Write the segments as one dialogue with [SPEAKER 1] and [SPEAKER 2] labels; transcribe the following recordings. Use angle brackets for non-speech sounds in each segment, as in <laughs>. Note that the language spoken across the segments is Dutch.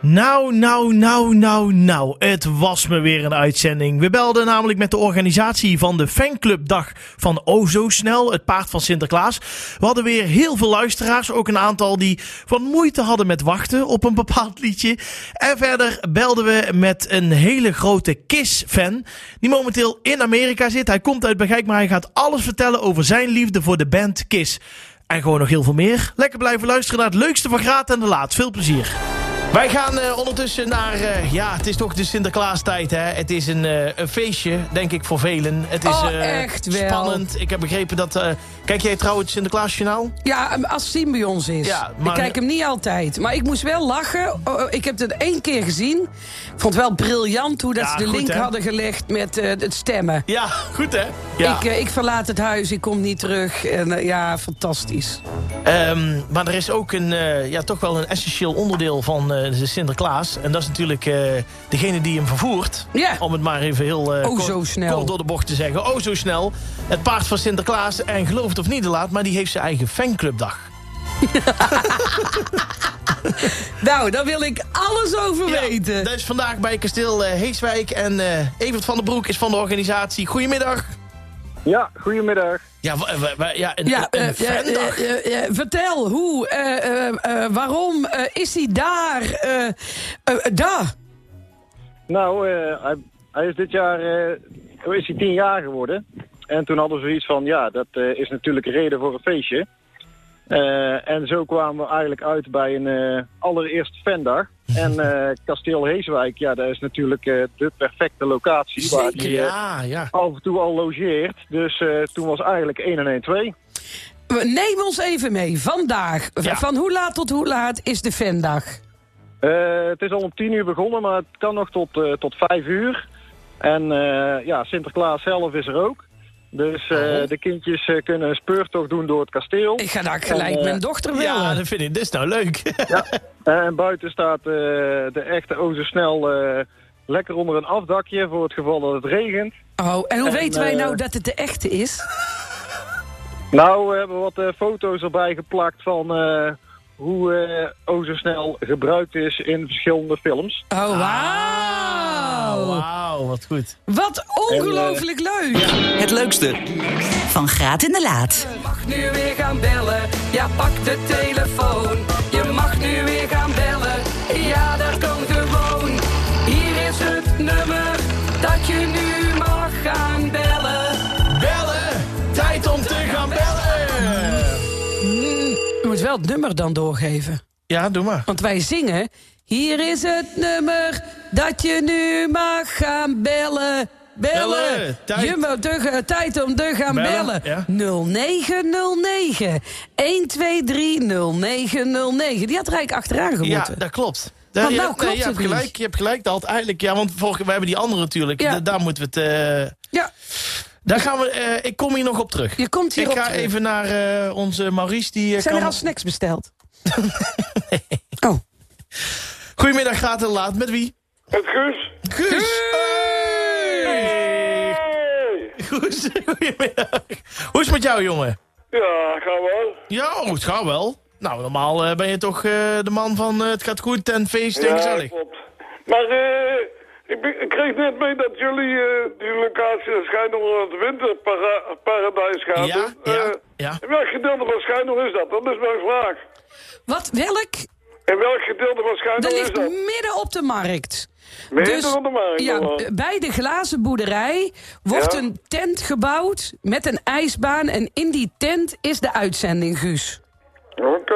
[SPEAKER 1] Nou, nou, nou, nou, nou. Het was me weer een uitzending. We belden namelijk met de organisatie van de fanclubdag van O Zo Snel, het paard van Sinterklaas. We hadden weer heel veel luisteraars, ook een aantal die wat moeite hadden met wachten op een bepaald liedje. En verder belden we met een hele grote Kiss-fan, die momenteel in Amerika zit. Hij komt uit Begijk, maar hij gaat alles vertellen over zijn liefde voor de band Kiss. En gewoon nog heel veel meer. Lekker blijven luisteren naar het leukste van Graat en de Laat. Veel plezier. Wij gaan eh, ondertussen naar, eh, ja, het is toch de Sinterklaastijd, hè. Het is een, eh, een feestje, denk ik, voor velen. Het is
[SPEAKER 2] Oh,
[SPEAKER 1] eh,
[SPEAKER 2] echt wel.
[SPEAKER 1] spannend. Ik heb begrepen dat, eh, kijk jij trouwens het Sinterklaasjournaal?
[SPEAKER 2] Ja, als Siem bij ons is.
[SPEAKER 1] Ja, maar-
[SPEAKER 2] Ik kijk hem niet altijd. Maar ik moest wel lachen. Oh, oh, Ik heb het één keer gezien. Ik vond het wel briljant hoe dat
[SPEAKER 1] Ja,
[SPEAKER 2] ze de
[SPEAKER 1] goed,
[SPEAKER 2] link
[SPEAKER 1] hè?
[SPEAKER 2] hadden gelegd met eh, het stemmen.
[SPEAKER 1] Ja, goed hè? Ja.
[SPEAKER 2] Ik, eh, ik verlaat het huis, ik kom niet terug. En eh, ja, fantastisch.
[SPEAKER 1] Ehm, maar er is ook een, eh, ja, toch wel een essentieel onderdeel van eh, de Sinterklaas. En dat is natuurlijk eh, degene die hem vervoert.
[SPEAKER 2] Ja.
[SPEAKER 1] Om het maar even heel eh,
[SPEAKER 2] Oh, zo snel.
[SPEAKER 1] kort door de bocht te zeggen. Oh, zo snel. Het paard van Sinterklaas. En geloof het of niet, de laat, maar die heeft zijn eigen fanclubdag.
[SPEAKER 2] Nou, daar wil ik alles over weten.
[SPEAKER 1] Dat is vandaag bij kasteel eh, Heeswijk. En eh, Evert van den Broek is van de organisatie. Goedemiddag.
[SPEAKER 3] Ja, goedemiddag.
[SPEAKER 1] Ja, wa- wa- wa- ja een,
[SPEAKER 2] Ja,
[SPEAKER 1] een
[SPEAKER 2] eh, eh,
[SPEAKER 1] fandag.
[SPEAKER 2] eh, eh, eh, vertel, hoe, eh, eh, eh, waarom eh, is hij daar? eh, eh, eh, daar?
[SPEAKER 3] Nou, eh, hij, hij is dit jaar eh, is hij tien jaar geworden. En toen hadden we zoiets van, ja, dat eh, is natuurlijk een reden voor een feestje. Eh, en zo kwamen we eigenlijk uit bij een eh, allereerst Vendag. En eh, Kasteel Heeswijk, ja, dat is natuurlijk eh, de perfecte locatie waar hij eh,
[SPEAKER 1] Ja, ja.
[SPEAKER 3] af en toe al logeert. Dus eh, toen was eigenlijk 1 en 1 2.
[SPEAKER 2] Neem ons even mee. Vandaag, v-
[SPEAKER 1] Ja.
[SPEAKER 2] van hoe laat tot hoe laat is de fandag?
[SPEAKER 3] Eh, het is al om tien uur begonnen, maar het kan nog tot, eh, tot vijf uur. En eh, ja, Sinterklaas zelf is er ook. Dus eh, de kindjes eh, kunnen een speurtocht doen door het kasteel.
[SPEAKER 2] Ik ga daar gelijk
[SPEAKER 3] En, eh,
[SPEAKER 2] mijn dochter willen.
[SPEAKER 1] Ja, dat vind ik. Dit is nou leuk. <laughs>
[SPEAKER 3] En buiten staat eh, de echte Ozersnel eh lekker onder een afdakje voor het geval dat het regent.
[SPEAKER 2] Oh, en hoe
[SPEAKER 3] En,
[SPEAKER 2] weten wij
[SPEAKER 3] eh,
[SPEAKER 2] nou dat het de echte is?
[SPEAKER 3] Nou, we hebben wat eh, foto's erbij geplakt van eh, hoe eh Ozersnel gebruikt is in verschillende films.
[SPEAKER 2] Oh,
[SPEAKER 1] Ah,
[SPEAKER 3] eh,
[SPEAKER 2] wauw.
[SPEAKER 1] Wauw, wat goed.
[SPEAKER 2] Wat ongelooflijk leuk.
[SPEAKER 4] Het leukste,
[SPEAKER 5] Van Graat in de Laat.
[SPEAKER 2] Je mag nu weer gaan bellen. Ja, pak de telefoon. Je mag nu weer gaan bellen. Ja, dat kan gewoon. Hier is het nummer dat je nu mag gaan bellen.
[SPEAKER 1] Bellen! Tijd om te gaan bellen!
[SPEAKER 2] Je moet wel het nummer dan doorgeven.
[SPEAKER 1] Ja, doe maar.
[SPEAKER 2] Want wij zingen. Hier is het nummer dat je nu mag gaan bellen. Bellen.
[SPEAKER 1] Bellen, tijd.
[SPEAKER 2] Je moet te ge- tijd om te gaan
[SPEAKER 1] Bellen,
[SPEAKER 2] bellen.
[SPEAKER 1] ja.
[SPEAKER 2] 0909. 1230909. Die had er eigenlijk achteraan
[SPEAKER 1] Ja,
[SPEAKER 2] gemoeten.
[SPEAKER 1] dat klopt.
[SPEAKER 2] Want
[SPEAKER 1] je,
[SPEAKER 2] nou
[SPEAKER 1] hebt-
[SPEAKER 2] klopt
[SPEAKER 1] je hebt
[SPEAKER 2] het
[SPEAKER 1] gelijk,
[SPEAKER 2] niet.
[SPEAKER 1] je hebt gelijk. Dat had eigenlijk, ja, want vorige, we hebben die andere natuurlijk.
[SPEAKER 2] Ja.
[SPEAKER 1] Da- Daar moeten we het. eh,
[SPEAKER 2] Ja,
[SPEAKER 1] daar gaan we. eh, ik kom hier nog op terug.
[SPEAKER 2] je komt hier
[SPEAKER 1] ik
[SPEAKER 2] op
[SPEAKER 1] ga
[SPEAKER 2] terug.
[SPEAKER 1] even naar eh, onze Maurice. Die, eh,
[SPEAKER 2] Zijn
[SPEAKER 1] kan...
[SPEAKER 2] er al snacks besteld? Oh.
[SPEAKER 1] Goedemiddag, gaat en laat. Met wie?
[SPEAKER 6] Het Guus.
[SPEAKER 1] Guus! Hey!
[SPEAKER 6] Hey.
[SPEAKER 1] Guus, goedemiddag. Hoe is het met jou, jongen?
[SPEAKER 6] Ja, ga wel.
[SPEAKER 1] Ja, oh, het gaat wel. Nou, normaal eh, ben je toch eh, de man van eh, het gaat goed en feest en
[SPEAKER 6] ja,
[SPEAKER 1] gezellig.
[SPEAKER 6] klopt. Maar eh, ik, be- ik kreeg net mee dat jullie eh, die locatie naar Schijndel het winterparadijs gaat.
[SPEAKER 1] Ja,
[SPEAKER 6] hè?
[SPEAKER 1] ja,
[SPEAKER 6] Eh,
[SPEAKER 1] ja.
[SPEAKER 6] In welk gedeelte van Schijndel is dat? Dat is mijn vraag.
[SPEAKER 2] Wat, welk?
[SPEAKER 6] In welk gedeelte van
[SPEAKER 2] Dat
[SPEAKER 6] Schijndel is
[SPEAKER 2] ligt
[SPEAKER 6] dat?
[SPEAKER 2] midden op de markt.
[SPEAKER 6] Midden op de markt,
[SPEAKER 2] Dus Ja,
[SPEAKER 6] allemaal.
[SPEAKER 2] bij de glazen boerderij wordt
[SPEAKER 6] Ja.
[SPEAKER 2] een tent gebouwd met een ijsbaan. En in die tent is de uitzending, Guus. eh,
[SPEAKER 6] Oké.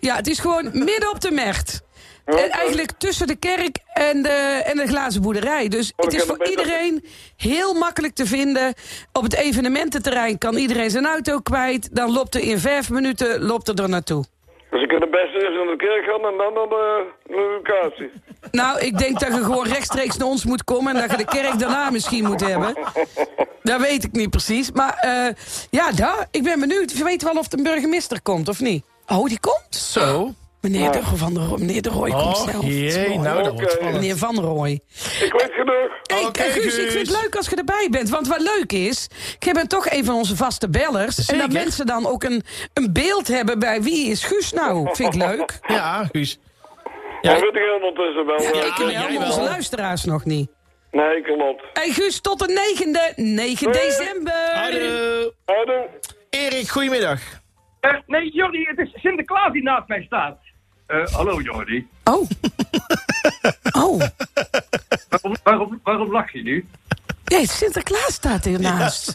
[SPEAKER 2] Ja, het is
[SPEAKER 6] <laughs>
[SPEAKER 2] gewoon midden op de merkt. En eigenlijk tussen de kerk en de, en de glazen boerderij. Dus het
[SPEAKER 6] ik
[SPEAKER 2] is
[SPEAKER 6] heb
[SPEAKER 2] voor
[SPEAKER 6] Oh, het beter.
[SPEAKER 2] iedereen heel makkelijk te vinden. Op het evenemententerrein kan iedereen zijn auto kwijt. Dan loopt er in vijf minuten loopt er, er naartoe.
[SPEAKER 6] Dus ik kan het beste eerst naar de kerk gaan en dan naar de locatie.
[SPEAKER 2] Nou, ik denk dat je gewoon rechtstreeks naar ons moet komen... en dat je de kerk daarna misschien moet hebben. Dat weet ik niet precies. Maar eh, ja, daar, ik ben benieuwd. We weten wel of de burgemeester komt, of niet? Oh, die komt?
[SPEAKER 1] Zo.
[SPEAKER 2] Meneer, de, van de, Ro- meneer de Rooij komt
[SPEAKER 1] Och
[SPEAKER 2] zelf. Dat is
[SPEAKER 1] Oh, jee,
[SPEAKER 2] mooi.
[SPEAKER 1] nou dat wordt
[SPEAKER 6] Oké.
[SPEAKER 1] spannend.
[SPEAKER 2] Meneer Van Rooij.
[SPEAKER 6] Ik weet genoeg.
[SPEAKER 2] Hey,
[SPEAKER 1] Oké,
[SPEAKER 2] eh, Guus, ik vind
[SPEAKER 1] Guus.
[SPEAKER 2] het leuk als je erbij bent. Want wat leuk is, jij bent toch een van onze vaste bellers. En dat
[SPEAKER 1] Zeker.
[SPEAKER 2] mensen dan ook een, een beeld hebben bij wie is Guus nou. Vind ik leuk.
[SPEAKER 1] Ja, Guus.
[SPEAKER 6] Dat
[SPEAKER 1] Ja,
[SPEAKER 6] weet ik ondertussen wel.
[SPEAKER 2] Ja,
[SPEAKER 6] eh,
[SPEAKER 2] ik wel,
[SPEAKER 1] jij
[SPEAKER 2] maar onze
[SPEAKER 1] wel.
[SPEAKER 2] luisteraars nog niet.
[SPEAKER 6] Nee, klopt.
[SPEAKER 2] Hey Guus, tot de 9e, 9
[SPEAKER 6] Doei.
[SPEAKER 2] december.
[SPEAKER 1] hallo.
[SPEAKER 6] Hallo.
[SPEAKER 1] Erik, goedemiddag.
[SPEAKER 7] Eh, nee, Jordi, het is Sinterklaas die naast mij staat. Eh, hallo Jordi.
[SPEAKER 2] Oh. <laughs> oh.
[SPEAKER 7] Waarom, waarom, waarom lach je nu?
[SPEAKER 2] Nee, Sinterklaas
[SPEAKER 1] <laughs>
[SPEAKER 2] staat hiernaast.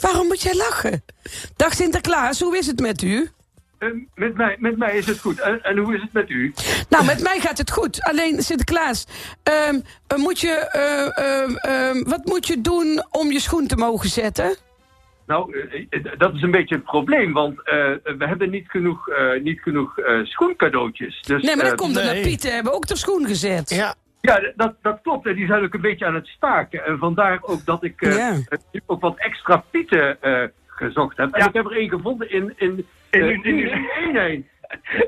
[SPEAKER 2] Waarom moet jij lachen? Dag Sinterklaas, hoe is het met u?
[SPEAKER 7] Eh, met, mij, met mij is het goed. En, en hoe is het met u?
[SPEAKER 2] Nou, met mij gaat het goed. Alleen Sinterklaas, ehm, eh, moet je, eh, ehm, ehm, wat moet je doen om je schoen te mogen zetten?
[SPEAKER 7] Nou, eh, eh, dat is een beetje het probleem, want eh, we hebben niet genoeg, eh, niet genoeg eh, schoencadeautjes. Dus,
[SPEAKER 2] Nee, maar dat
[SPEAKER 7] eh,
[SPEAKER 2] komt omdat
[SPEAKER 1] nee.
[SPEAKER 2] Pieten hebben ook de schoen gezet.
[SPEAKER 1] Ja,
[SPEAKER 7] Ja, dat, dat klopt. En die zijn ook een beetje aan het staken. En vandaar ook dat ik eh,
[SPEAKER 2] Ja.
[SPEAKER 7] eh, ook wat extra pieten eh, gezocht heb. En ik heb er één gevonden in... in
[SPEAKER 8] In
[SPEAKER 7] eh,
[SPEAKER 8] Uden.
[SPEAKER 7] in Uden. Nee, nee.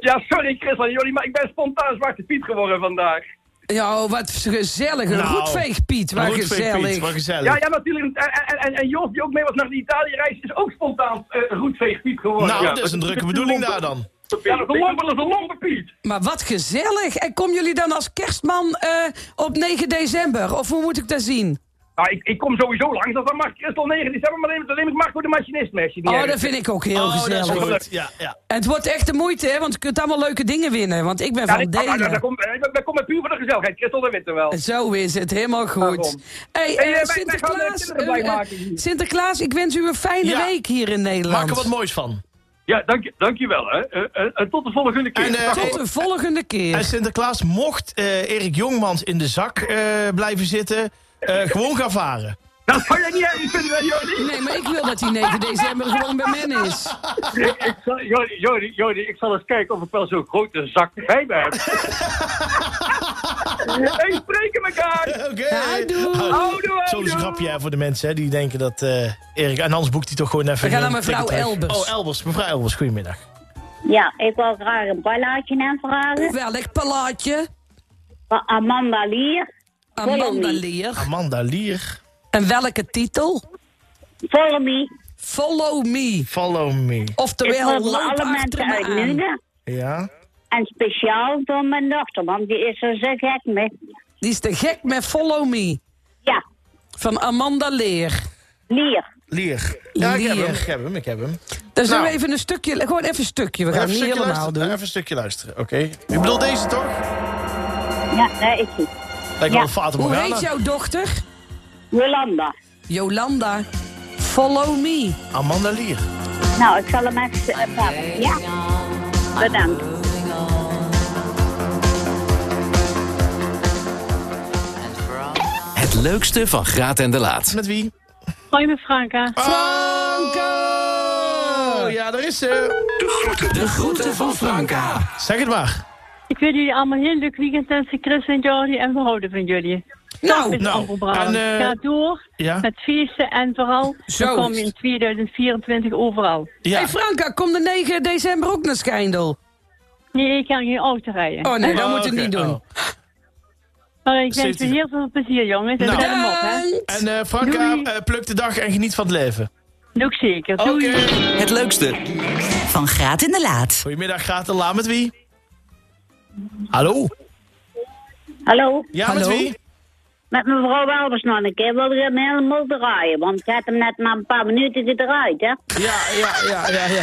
[SPEAKER 8] Ja, sorry Chris en jullie, maar ik ben spontaan Zwarte Piet geworden vandaag.
[SPEAKER 2] Ja, oh, wat gezellig. Een
[SPEAKER 1] Nou,
[SPEAKER 2] roetveeg, Piet. Waar
[SPEAKER 1] goed, Piet,
[SPEAKER 2] gezellig.
[SPEAKER 1] Wat gezellig.
[SPEAKER 8] Ja, ja, natuurlijk. En, en, en, en Joost, die ook mee was naar de Italië-reis, is ook spontaan eh roetveeg Piet geworden.
[SPEAKER 1] nou,
[SPEAKER 8] ja,
[SPEAKER 1] dat is een drukke bedoeling daar dan.
[SPEAKER 8] Ja, dat is een lompe, dat is een lompe Piet.
[SPEAKER 2] Maar wat gezellig. En komen jullie dan als kerstman eh, op 9 december? Of hoe moet ik dat zien?
[SPEAKER 8] Nou, ik, ik kom sowieso langs, dat dan mag Chris al 9 december, maar neem het alleen met Marco de machinist mee. als je het niet
[SPEAKER 2] Oh,
[SPEAKER 8] erg
[SPEAKER 2] dat vind ik ook heel
[SPEAKER 1] Oh, dat is
[SPEAKER 2] gezellig.
[SPEAKER 1] goed. Ja, ja.
[SPEAKER 2] En het wordt echt de moeite, hè? Want je kunt allemaal leuke dingen winnen. Want ik ben
[SPEAKER 8] Ja,
[SPEAKER 2] van
[SPEAKER 7] Ah,
[SPEAKER 8] dat,
[SPEAKER 7] nou,
[SPEAKER 8] dat, dat,
[SPEAKER 2] delen.
[SPEAKER 8] komt- eh, dat- dat komt puur voor de gezelligheid. Christel, dat weten we wel.
[SPEAKER 2] Zo is het, helemaal goed.
[SPEAKER 8] Daarom.
[SPEAKER 2] Hey,
[SPEAKER 8] Hey,
[SPEAKER 2] eh,
[SPEAKER 8] eh, wij- wij gaan, eh,
[SPEAKER 2] Sinterklaas,
[SPEAKER 8] kinderen blij
[SPEAKER 2] eh, eh,
[SPEAKER 8] maken hier.
[SPEAKER 2] Sinterklaas, ik wens u een fijne
[SPEAKER 1] Ja.
[SPEAKER 2] week hier in
[SPEAKER 1] Maak
[SPEAKER 2] Nederland.
[SPEAKER 1] er wat moois van.
[SPEAKER 7] Ja, dank, je- dankjewel. Hè. Eh, eh, en tot de volgende keer.
[SPEAKER 1] En, eh,
[SPEAKER 2] Tot de volgende
[SPEAKER 1] en
[SPEAKER 2] keer.
[SPEAKER 1] Sinterklaas, mocht eh, Erik Jongmans in de zak eh, blijven zitten, eh, gewoon gaan varen.
[SPEAKER 7] Nou,
[SPEAKER 8] Dat kan je niet erg vinden, hè, Jordi.
[SPEAKER 2] Nee, maar ik wil dat die 9 december gewoon bij men is.
[SPEAKER 7] Ik zal- Jordi, Jordi, Jordi, ik zal eens kijken of ik wel zo'n grote zak bij me
[SPEAKER 1] <laughs>
[SPEAKER 7] heb.
[SPEAKER 8] Hey, spreken elkaar.
[SPEAKER 1] Oké.
[SPEAKER 2] Hi, doei. Oh,
[SPEAKER 8] Houdoe, houdoe.
[SPEAKER 1] Zo is een grapje hè, voor de mensen hè, die denken dat eh, Erik... En anders boekt hij toch gewoon even...
[SPEAKER 2] We gaan naar
[SPEAKER 1] een
[SPEAKER 2] mevrouw
[SPEAKER 1] ticket terug.
[SPEAKER 2] Elbers.
[SPEAKER 1] Oh, Elbers. Mevrouw Elbers, goedemiddag.
[SPEAKER 9] Ja, ik wil graag een ballaadje aanvragen.
[SPEAKER 2] Welk palaatje?
[SPEAKER 9] Van Amanda Lier.
[SPEAKER 2] Amanda Leer.
[SPEAKER 1] Amanda Lier,
[SPEAKER 2] En welke titel?
[SPEAKER 9] Follow me.
[SPEAKER 2] Follow me.
[SPEAKER 1] follow me.
[SPEAKER 9] Ik
[SPEAKER 2] Oftewel,
[SPEAKER 9] wil voor
[SPEAKER 2] loop
[SPEAKER 9] alle
[SPEAKER 2] achter
[SPEAKER 9] mensen
[SPEAKER 2] me
[SPEAKER 9] uit
[SPEAKER 2] aan.
[SPEAKER 9] Nuenen.
[SPEAKER 1] Ja.
[SPEAKER 9] En speciaal voor mijn dochter, want die is er zo gek mee.
[SPEAKER 2] Die is te gek met Follow me.
[SPEAKER 9] Ja,
[SPEAKER 2] Van Amanda Leer.
[SPEAKER 9] Lier.
[SPEAKER 1] Lier. Ja, ik heb
[SPEAKER 2] Lier.
[SPEAKER 1] hem, ik heb hem, ik heb hem.
[SPEAKER 2] Dan zullen
[SPEAKER 1] Nou.
[SPEAKER 2] we even een stukje... Gewoon even een stukje. We gaan
[SPEAKER 1] Even
[SPEAKER 2] het
[SPEAKER 1] een
[SPEAKER 2] niet
[SPEAKER 1] stukje
[SPEAKER 2] helemaal
[SPEAKER 1] luisteren.
[SPEAKER 2] doen.
[SPEAKER 1] Even een stukje luisteren, oké. U bedoelt deze toch?
[SPEAKER 9] Ja, dat is die.
[SPEAKER 1] Lijkt
[SPEAKER 9] Ja.
[SPEAKER 1] wel Fata
[SPEAKER 2] Hoe
[SPEAKER 1] Morgana.
[SPEAKER 2] heet jouw dochter?
[SPEAKER 9] Jolanda.
[SPEAKER 2] Jolanda. Follow me.
[SPEAKER 1] Amanda Lier.
[SPEAKER 9] Nou, ik zal hem even eh, pakken. Ja, bedankt.
[SPEAKER 4] Het leukste van Graat en de Laat.
[SPEAKER 1] Met wie?
[SPEAKER 10] Hoi met Franka.
[SPEAKER 1] Franco! Oh, Ja, daar is ze.
[SPEAKER 4] De groeten van Franka.
[SPEAKER 1] Zeg het maar.
[SPEAKER 10] Ik wil jullie allemaal een heel leuk weekend wensen, Chris en Jordi. En we houden van jullie.
[SPEAKER 2] Nou,
[SPEAKER 10] Met
[SPEAKER 1] Nou,
[SPEAKER 10] Amber Brown.
[SPEAKER 1] en, eh,
[SPEAKER 10] Ga door
[SPEAKER 1] ja?
[SPEAKER 10] met feesten en vooral,
[SPEAKER 2] Zo
[SPEAKER 10] dan kom
[SPEAKER 2] is
[SPEAKER 10] je in
[SPEAKER 2] het.
[SPEAKER 10] 2024 overal.
[SPEAKER 1] Ja.
[SPEAKER 2] hey Franka, kom de 9 december ook naar Schijndel.
[SPEAKER 10] Nee, ik kan geen auto rijden.
[SPEAKER 2] Oh nee, dat
[SPEAKER 1] Oh,
[SPEAKER 2] moet ik
[SPEAKER 1] oké.
[SPEAKER 2] niet doen.
[SPEAKER 1] Oh.
[SPEAKER 10] maar ik wens
[SPEAKER 1] Zit-
[SPEAKER 10] jullie heel veel plezier, jongens. En
[SPEAKER 1] Nou.
[SPEAKER 10] zet hem op, hè.
[SPEAKER 2] Bedankt.
[SPEAKER 1] En eh, Franka,
[SPEAKER 10] Doei.
[SPEAKER 1] eh, pluk de dag en geniet van het leven.
[SPEAKER 10] Doe ik zeker. Doei.
[SPEAKER 4] Het leukste
[SPEAKER 5] Van Graat in de Laat.
[SPEAKER 1] Goedemiddag, Graat en Laan. Met wie? Hallo?
[SPEAKER 9] Hallo,
[SPEAKER 1] Ja,
[SPEAKER 2] Hallo?
[SPEAKER 1] met wie?
[SPEAKER 9] met mevrouw Welbers nog een keer. Wil ik hem helemaal draaien, want ik had hem net maar een paar minuten gedraaid, hè.
[SPEAKER 1] Ja, ja, ja, ja. ja.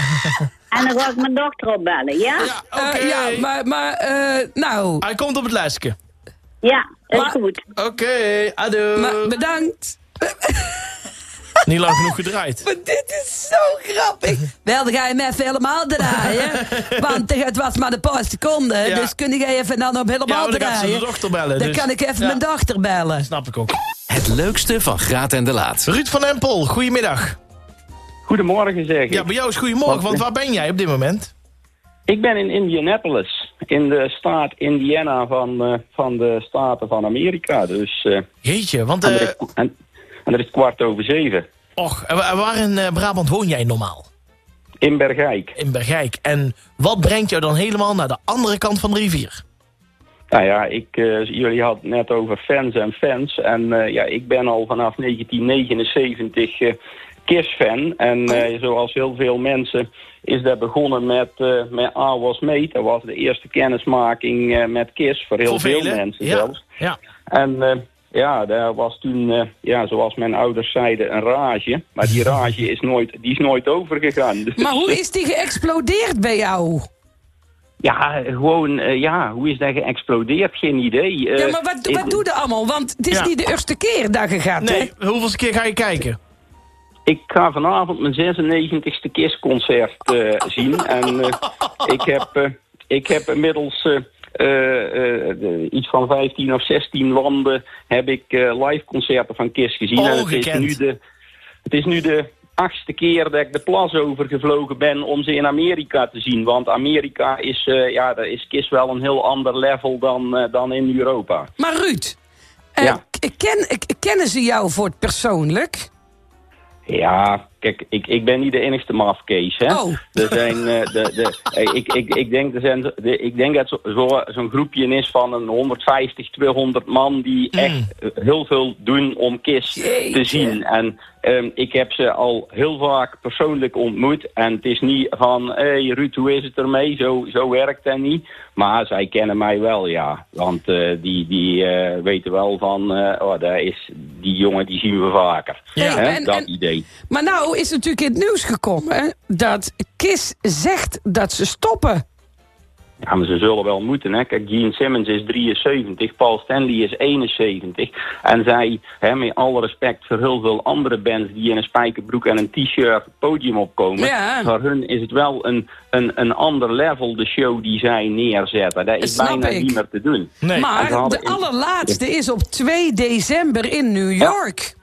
[SPEAKER 9] En dan ga ik mijn dochter opbellen, ja?
[SPEAKER 1] Ja, oké.
[SPEAKER 2] Eh, ja, maar, maar eh, nou,
[SPEAKER 1] Hij komt op het lijstje.
[SPEAKER 9] Ja, is
[SPEAKER 2] Maar-
[SPEAKER 9] goed.
[SPEAKER 1] Oké, adieu.
[SPEAKER 2] maar bedankt.
[SPEAKER 1] Niet lang genoeg gedraaid.
[SPEAKER 2] Maar dit is zo grappig. Wel, dan ga je hem even helemaal draaien. Want het was maar een paar seconden.
[SPEAKER 1] Ja.
[SPEAKER 2] Dus kun jij even dan op
[SPEAKER 1] Ja,
[SPEAKER 2] helemaal
[SPEAKER 1] maar dan gaat ze
[SPEAKER 2] draaien.
[SPEAKER 1] de dochter bellen.
[SPEAKER 2] Dan
[SPEAKER 1] dus-
[SPEAKER 2] kan ik even
[SPEAKER 1] Ja,
[SPEAKER 2] mijn dochter
[SPEAKER 1] <laughs>
[SPEAKER 2] bellen.
[SPEAKER 1] Snap ik ook.
[SPEAKER 4] Het leukste van Graat en de Laat.
[SPEAKER 1] Ruud van Empel, goedemiddag.
[SPEAKER 8] Goedemorgen, zeg ik.
[SPEAKER 1] Ja, bij jou is goedemorgen, want waar ben jij op dit moment?
[SPEAKER 8] Ik ben in Indianapolis, in de staat Indiana van, eh, van de Staten van Amerika. Dus, eh,
[SPEAKER 1] Jeetje, want...
[SPEAKER 8] en, er
[SPEAKER 1] eh
[SPEAKER 8] is, en, en er is kwart over zeven.
[SPEAKER 1] eh, och, en wa- en waar in eh, Brabant woon jij normaal?
[SPEAKER 3] In Bergijk.
[SPEAKER 1] In Bergijk. En wat brengt jou dan helemaal naar de andere kant van de rivier?
[SPEAKER 3] Nou ja, ik, eh, jullie hadden het net over fans en fans. En eh, ja, ik ben al vanaf 1979 eh KISS-fan. En eh, zoals heel veel mensen is dat begonnen met, eh met I Was Made. Dat was de eerste kennismaking eh, met KISS voor heel
[SPEAKER 1] Voor
[SPEAKER 3] veel
[SPEAKER 1] velen,
[SPEAKER 3] mensen
[SPEAKER 1] ja.
[SPEAKER 3] zelfs.
[SPEAKER 1] Ja.
[SPEAKER 3] En eh, ja, daar was toen, eh, ja, zoals mijn ouders zeiden, een rage. Maar die rage is nooit, die is nooit overgegaan. Dus,
[SPEAKER 2] Maar hoe is die geëxplodeerd bij jou?
[SPEAKER 3] Ja, gewoon, eh, ja, hoe is dat geëxplodeerd? Geen idee.
[SPEAKER 2] Ja,
[SPEAKER 3] Eh,
[SPEAKER 2] maar wat,
[SPEAKER 3] ik-
[SPEAKER 2] wat doe je allemaal? Want het is
[SPEAKER 3] Ja.
[SPEAKER 2] niet de eerste keer dat je gaat, hè?
[SPEAKER 1] Nee, hoeveelste keer ga je kijken?
[SPEAKER 3] Ik ga vanavond mijn 96e KISS-concert eh, zien. En eh, ik, heb, eh, ik heb inmiddels eh, eh, eh, de- iets van 15 of 16 landen heb ik eh, live concerten van KISS gezien. en het is,
[SPEAKER 1] Ongekend.
[SPEAKER 3] nu de, het is nu de achtste keer dat ik de plas overgevlogen ben om ze in Amerika te zien. Want Amerika is, eh, ja, daar is KISS wel een heel ander level dan, eh, dan in Europa.
[SPEAKER 2] Maar Ruud, eh,
[SPEAKER 3] Ja.
[SPEAKER 2] k- ken, k- kennen ze jou voor het persoonlijk?
[SPEAKER 3] Ja, kijk, ik, ik ben niet de enigste mafkees, hè.
[SPEAKER 2] Oh.
[SPEAKER 3] <laughs> Er zijn, eh, de, de, eh, ik, ik, ik, denk, er zijn, de- ik denk dat zo- zo- zo'n groepje is van een 150, 200 man die
[SPEAKER 2] Mm.
[SPEAKER 3] echt eh, heel veel doen om KIS te zien. En ehm, ik heb ze al heel vaak persoonlijk ontmoet. En het is niet van, hé hey, Ruud, hoe is het ermee? Zo, zo werkt dat niet. Maar zij kennen mij wel, ja. Want eh, die, die eh, weten wel van, eh, oh, daar is, die jongen die zien we vaker.
[SPEAKER 2] Ja.
[SPEAKER 3] Hè,
[SPEAKER 2] En-
[SPEAKER 3] dat
[SPEAKER 2] en-
[SPEAKER 3] idee.
[SPEAKER 2] Maar nou is natuurlijk in het nieuws gekomen hè, dat Kiss zegt dat ze stoppen.
[SPEAKER 3] Ja, maar ze zullen wel moeten, hè. Kijk, Gene Simmons is 73, Paul Stanley is 71. En zij, hè, met alle respect voor heel veel andere bands... die in een spijkerbroek en een t-shirt het podium opkomen...
[SPEAKER 2] Ja.
[SPEAKER 3] voor hun is het wel een, een, een ander level, de show die zij neerzetten. Dat is
[SPEAKER 2] Snap
[SPEAKER 3] bijna
[SPEAKER 2] ik.
[SPEAKER 3] niet meer te doen. En ze
[SPEAKER 2] maar
[SPEAKER 3] hadden
[SPEAKER 2] de
[SPEAKER 3] in-
[SPEAKER 2] allerlaatste is op 2 december in New York.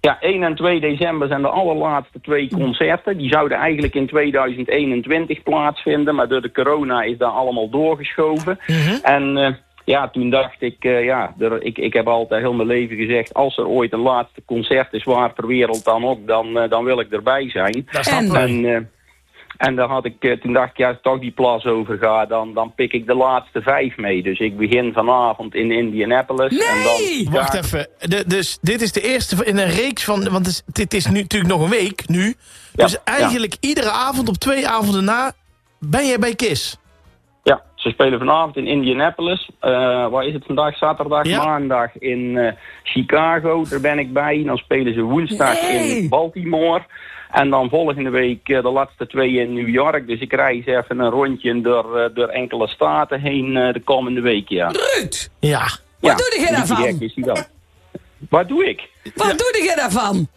[SPEAKER 3] Ja, 1 en 2 december zijn de allerlaatste twee concerten. Die zouden eigenlijk in 2021 plaatsvinden, maar door de corona is dat allemaal doorgeschoven. En eh, ja, toen dacht ik, eh, ja, er, ik, ik heb altijd heel mijn leven gezegd, als er ooit een laatste concert is, waar ter wereld dan ook, dan, eh, dan wil ik erbij zijn.
[SPEAKER 1] Dat snappen
[SPEAKER 3] en, eh, en daar had ik, eh, toen dacht ik, ja, als ik toch die plas overga, dan, dan pik ik de laatste vijf mee. Dus ik begin vanavond in Indianapolis. En dan,
[SPEAKER 1] Wacht
[SPEAKER 3] Ja,
[SPEAKER 1] even. De- dus dit is de eerste in een reeks van... Want het is- dit is nu, natuurlijk nog een week nu. Dus
[SPEAKER 3] ja.
[SPEAKER 1] eigenlijk iedere avond op twee avonden na... ben jij bij KISS.
[SPEAKER 3] Ja, ze spelen vanavond in Indianapolis. Eh waar is het vandaag? Zaterdag,
[SPEAKER 1] Ja.
[SPEAKER 3] maandag in eh, Chicago. Daar ben ik bij. Dan spelen ze woensdag in Baltimore. En dan volgende week eh, de laatste twee in New York. Dus ik reis even een rondje door, eh, door enkele staten heen eh, de komende week, ja.
[SPEAKER 2] Ruud,
[SPEAKER 1] Ja.
[SPEAKER 3] ja.
[SPEAKER 2] doe je
[SPEAKER 3] hoe
[SPEAKER 2] daarvan?
[SPEAKER 3] gek is die dan? Wat doe ik?
[SPEAKER 2] wat doe je daarvan?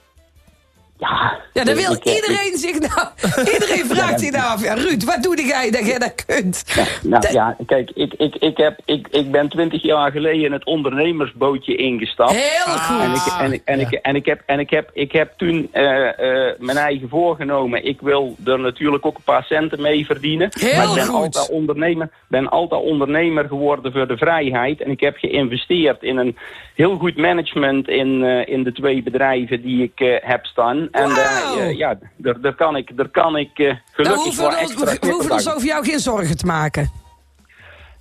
[SPEAKER 3] Ja,
[SPEAKER 2] Ja, dan wil
[SPEAKER 3] ik, eh,
[SPEAKER 2] iedereen zich nou...
[SPEAKER 3] <laughs>
[SPEAKER 2] Iedereen vraagt zich nou af. Ja, Ruud, wat doe jij dat jij dat kunt?
[SPEAKER 3] Nou ja, kijk, ik, ik, ik, heb, ik, ik ben twintig jaar geleden het ondernemersbootje ingestapt.
[SPEAKER 2] Heel goed.
[SPEAKER 3] Ah. En ik, en, ik- en, ik, en, ik, heb, en ik, heb, ik heb toen eh, eh, mijn eigen voorgenomen. Ik wil er natuurlijk ook een paar centen mee verdienen.
[SPEAKER 2] Heel
[SPEAKER 3] maar ik ben
[SPEAKER 2] goed.
[SPEAKER 3] altijd, ondernemer, ben altijd ondernemer geworden voor de vrijheid. En ik heb geïnvesteerd in een heel goed management in, eh, in de twee bedrijven die ik eh, heb staan. En daar, eh, ja, daar, daar kan ik, daar kan ik eh,
[SPEAKER 2] Nou,
[SPEAKER 3] gelukkig
[SPEAKER 2] we hoeven
[SPEAKER 3] wel
[SPEAKER 2] ons-
[SPEAKER 3] extra
[SPEAKER 2] we- we hoeven ons
[SPEAKER 3] kippendag
[SPEAKER 2] over jou geen zorgen te maken.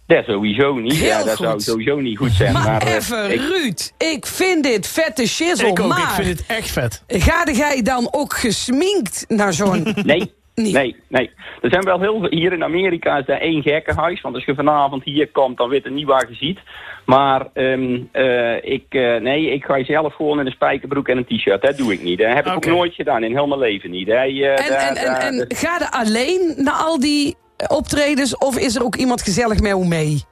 [SPEAKER 3] dat sowieso niet.
[SPEAKER 2] Heel
[SPEAKER 3] ja, dat
[SPEAKER 2] goed.
[SPEAKER 3] zou sowieso niet goed zijn.
[SPEAKER 2] Maar,
[SPEAKER 3] Maar, eh,
[SPEAKER 2] even,
[SPEAKER 3] ik-
[SPEAKER 2] Ruud, ik vind dit vette shizzle,
[SPEAKER 1] ik ook.
[SPEAKER 2] maar...
[SPEAKER 1] Ik vind het echt vet.
[SPEAKER 2] Ga jij dan ook gesminkt naar zo'n...
[SPEAKER 3] Nee.
[SPEAKER 2] Niet.
[SPEAKER 3] <laughs> Nee, nee. Er zijn wel heel veel. Hier in Amerika is daar één gekkenhuis. Want als je vanavond hier komt, dan weet je niet waar je ziet. Maar ehm, eh, ik, eh, nee, ik ga zelf gewoon in een spijkerbroek en een t-shirt. Dat doe ik niet. Dat heb ik
[SPEAKER 1] Oké.
[SPEAKER 3] ook nooit gedaan. In heel mijn leven niet. Hè. Je,
[SPEAKER 2] En,
[SPEAKER 3] daar-
[SPEAKER 2] en, en,
[SPEAKER 3] daar-
[SPEAKER 2] en ga je alleen naar al die eh, optredens... of is er ook iemand gezellig met jou mee?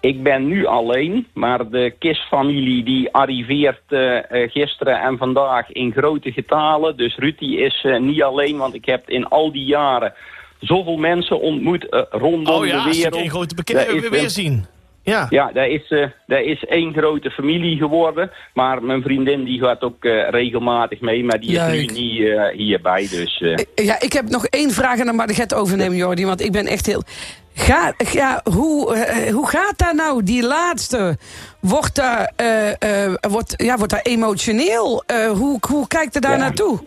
[SPEAKER 3] Ik ben nu alleen, maar de KIS-familie die arriveert eh, eh, gisteren en vandaag in grote getalen. Dus Ruud die is eh, niet alleen, want ik heb in al die jaren zoveel mensen ontmoet eh, rondom
[SPEAKER 1] Oh ja,
[SPEAKER 3] de
[SPEAKER 1] als ik
[SPEAKER 3] wereld.
[SPEAKER 1] een grote
[SPEAKER 3] Daar is
[SPEAKER 1] bekende
[SPEAKER 3] een-
[SPEAKER 1] weer zien. Ja.
[SPEAKER 3] ja, dat is, eh dat is één grote familie geworden. Maar mijn vriendin die gaat ook eh, regelmatig mee, maar die is
[SPEAKER 2] Leuk.
[SPEAKER 3] nu niet eh, hierbij. Dus, eh,
[SPEAKER 2] Eh, Ja, ik heb nog één vraag en dan mag ik het overnemen, Jordi. Want ik ben echt heel... Ga, ja, hoe, eh, hoe gaat dat nou, die laatste? Wordt daar, eh, eh, wordt, ja, wordt daar emotioneel? Eh, hoe, hoe kijkt er daar naartoe?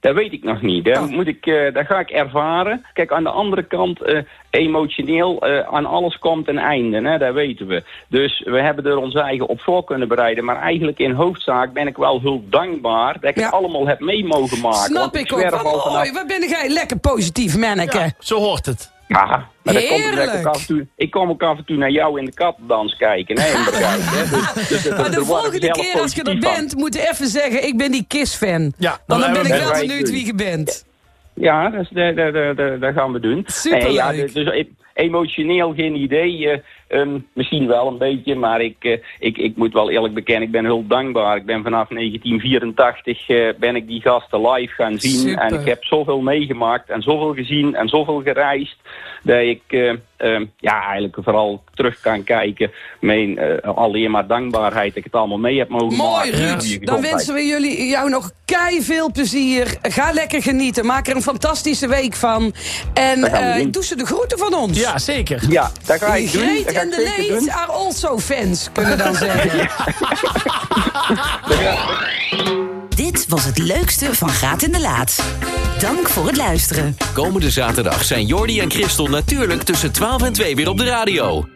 [SPEAKER 8] Dat weet ik nog niet.
[SPEAKER 2] Ah.
[SPEAKER 8] Daar, moet ik, eh, daar ga ik ervaren. Kijk, aan de andere kant, eh, emotioneel, eh, aan alles komt een einde. Hè? Dat weten we. Dus we hebben er ons eigen op voor kunnen bereiden. Maar eigenlijk in hoofdzaak ben ik wel heel dankbaar dat ik het allemaal heb mee mogen maken.
[SPEAKER 2] Snap
[SPEAKER 8] Want
[SPEAKER 2] ik ook.
[SPEAKER 8] zwerf
[SPEAKER 2] Wat
[SPEAKER 8] al vanaf-
[SPEAKER 2] mooi. Wat ben jij lekker positief, manneke.
[SPEAKER 1] zo hoort het.
[SPEAKER 8] Ja, maar dat komt omdat ik, ook
[SPEAKER 2] Heerlijk.
[SPEAKER 8] af en toe, ik kom ook af en toe naar jou in de katdans kijken. Hè,
[SPEAKER 2] <laughs>
[SPEAKER 8] in Bergijk, hè. Dus, dus, dat-
[SPEAKER 2] Maar
[SPEAKER 8] daar
[SPEAKER 2] de
[SPEAKER 8] word ik
[SPEAKER 2] volgende
[SPEAKER 8] zelf
[SPEAKER 2] keer als je er
[SPEAKER 8] positief van.
[SPEAKER 2] bent, moet je even zeggen: ik ben die KISS-fan.
[SPEAKER 1] Ja,
[SPEAKER 2] Want dan
[SPEAKER 8] hebben
[SPEAKER 2] ben ik
[SPEAKER 8] we
[SPEAKER 2] wel
[SPEAKER 8] het.
[SPEAKER 2] benieuwd wie je bent.
[SPEAKER 8] Ja, dat, is- dat, dat, dat- dat- dat gaan we doen.
[SPEAKER 2] Superleuk.
[SPEAKER 8] Nee, ja, dus dus e- emotioneel geen idee. eh, ehm, misschien wel een beetje, maar ik, eh, ik, ik moet wel eerlijk bekennen, ik ben heel dankbaar. Ik ben vanaf 1984 eh, ben ik die gasten live gaan zien.
[SPEAKER 11] Super.
[SPEAKER 8] En ik heb zoveel meegemaakt en zoveel gezien en zoveel gereisd. Dat ik eh, ehm, ja, eigenlijk vooral terug kan kijken. Mijn eh, alleen maar dankbaarheid dat ik het allemaal mee heb mogen
[SPEAKER 2] Mooi,
[SPEAKER 8] maken.
[SPEAKER 2] Ruud.
[SPEAKER 8] Goede
[SPEAKER 2] Dan
[SPEAKER 8] gezondheid.
[SPEAKER 2] wensen we jullie jou nog kei veel plezier. Ga lekker genieten. Maak er een fantastische week van. En
[SPEAKER 8] Dat gaan we
[SPEAKER 2] eh,
[SPEAKER 8] doen.
[SPEAKER 2] doe ze de groeten van ons.
[SPEAKER 1] Ja, zeker.
[SPEAKER 8] Ja, dat ga ik doen.
[SPEAKER 2] Great
[SPEAKER 8] Dat ga
[SPEAKER 2] en
[SPEAKER 8] ik
[SPEAKER 2] the
[SPEAKER 8] zeker doen.
[SPEAKER 2] late are also fans, kunnen we dan
[SPEAKER 8] <laughs>
[SPEAKER 2] zeggen.
[SPEAKER 5] Dit was het leukste van Graat in de Laat. Dank voor het luisteren.
[SPEAKER 4] Komende zaterdag zijn Jordi en Christel natuurlijk tussen 12 en 2 weer op de radio.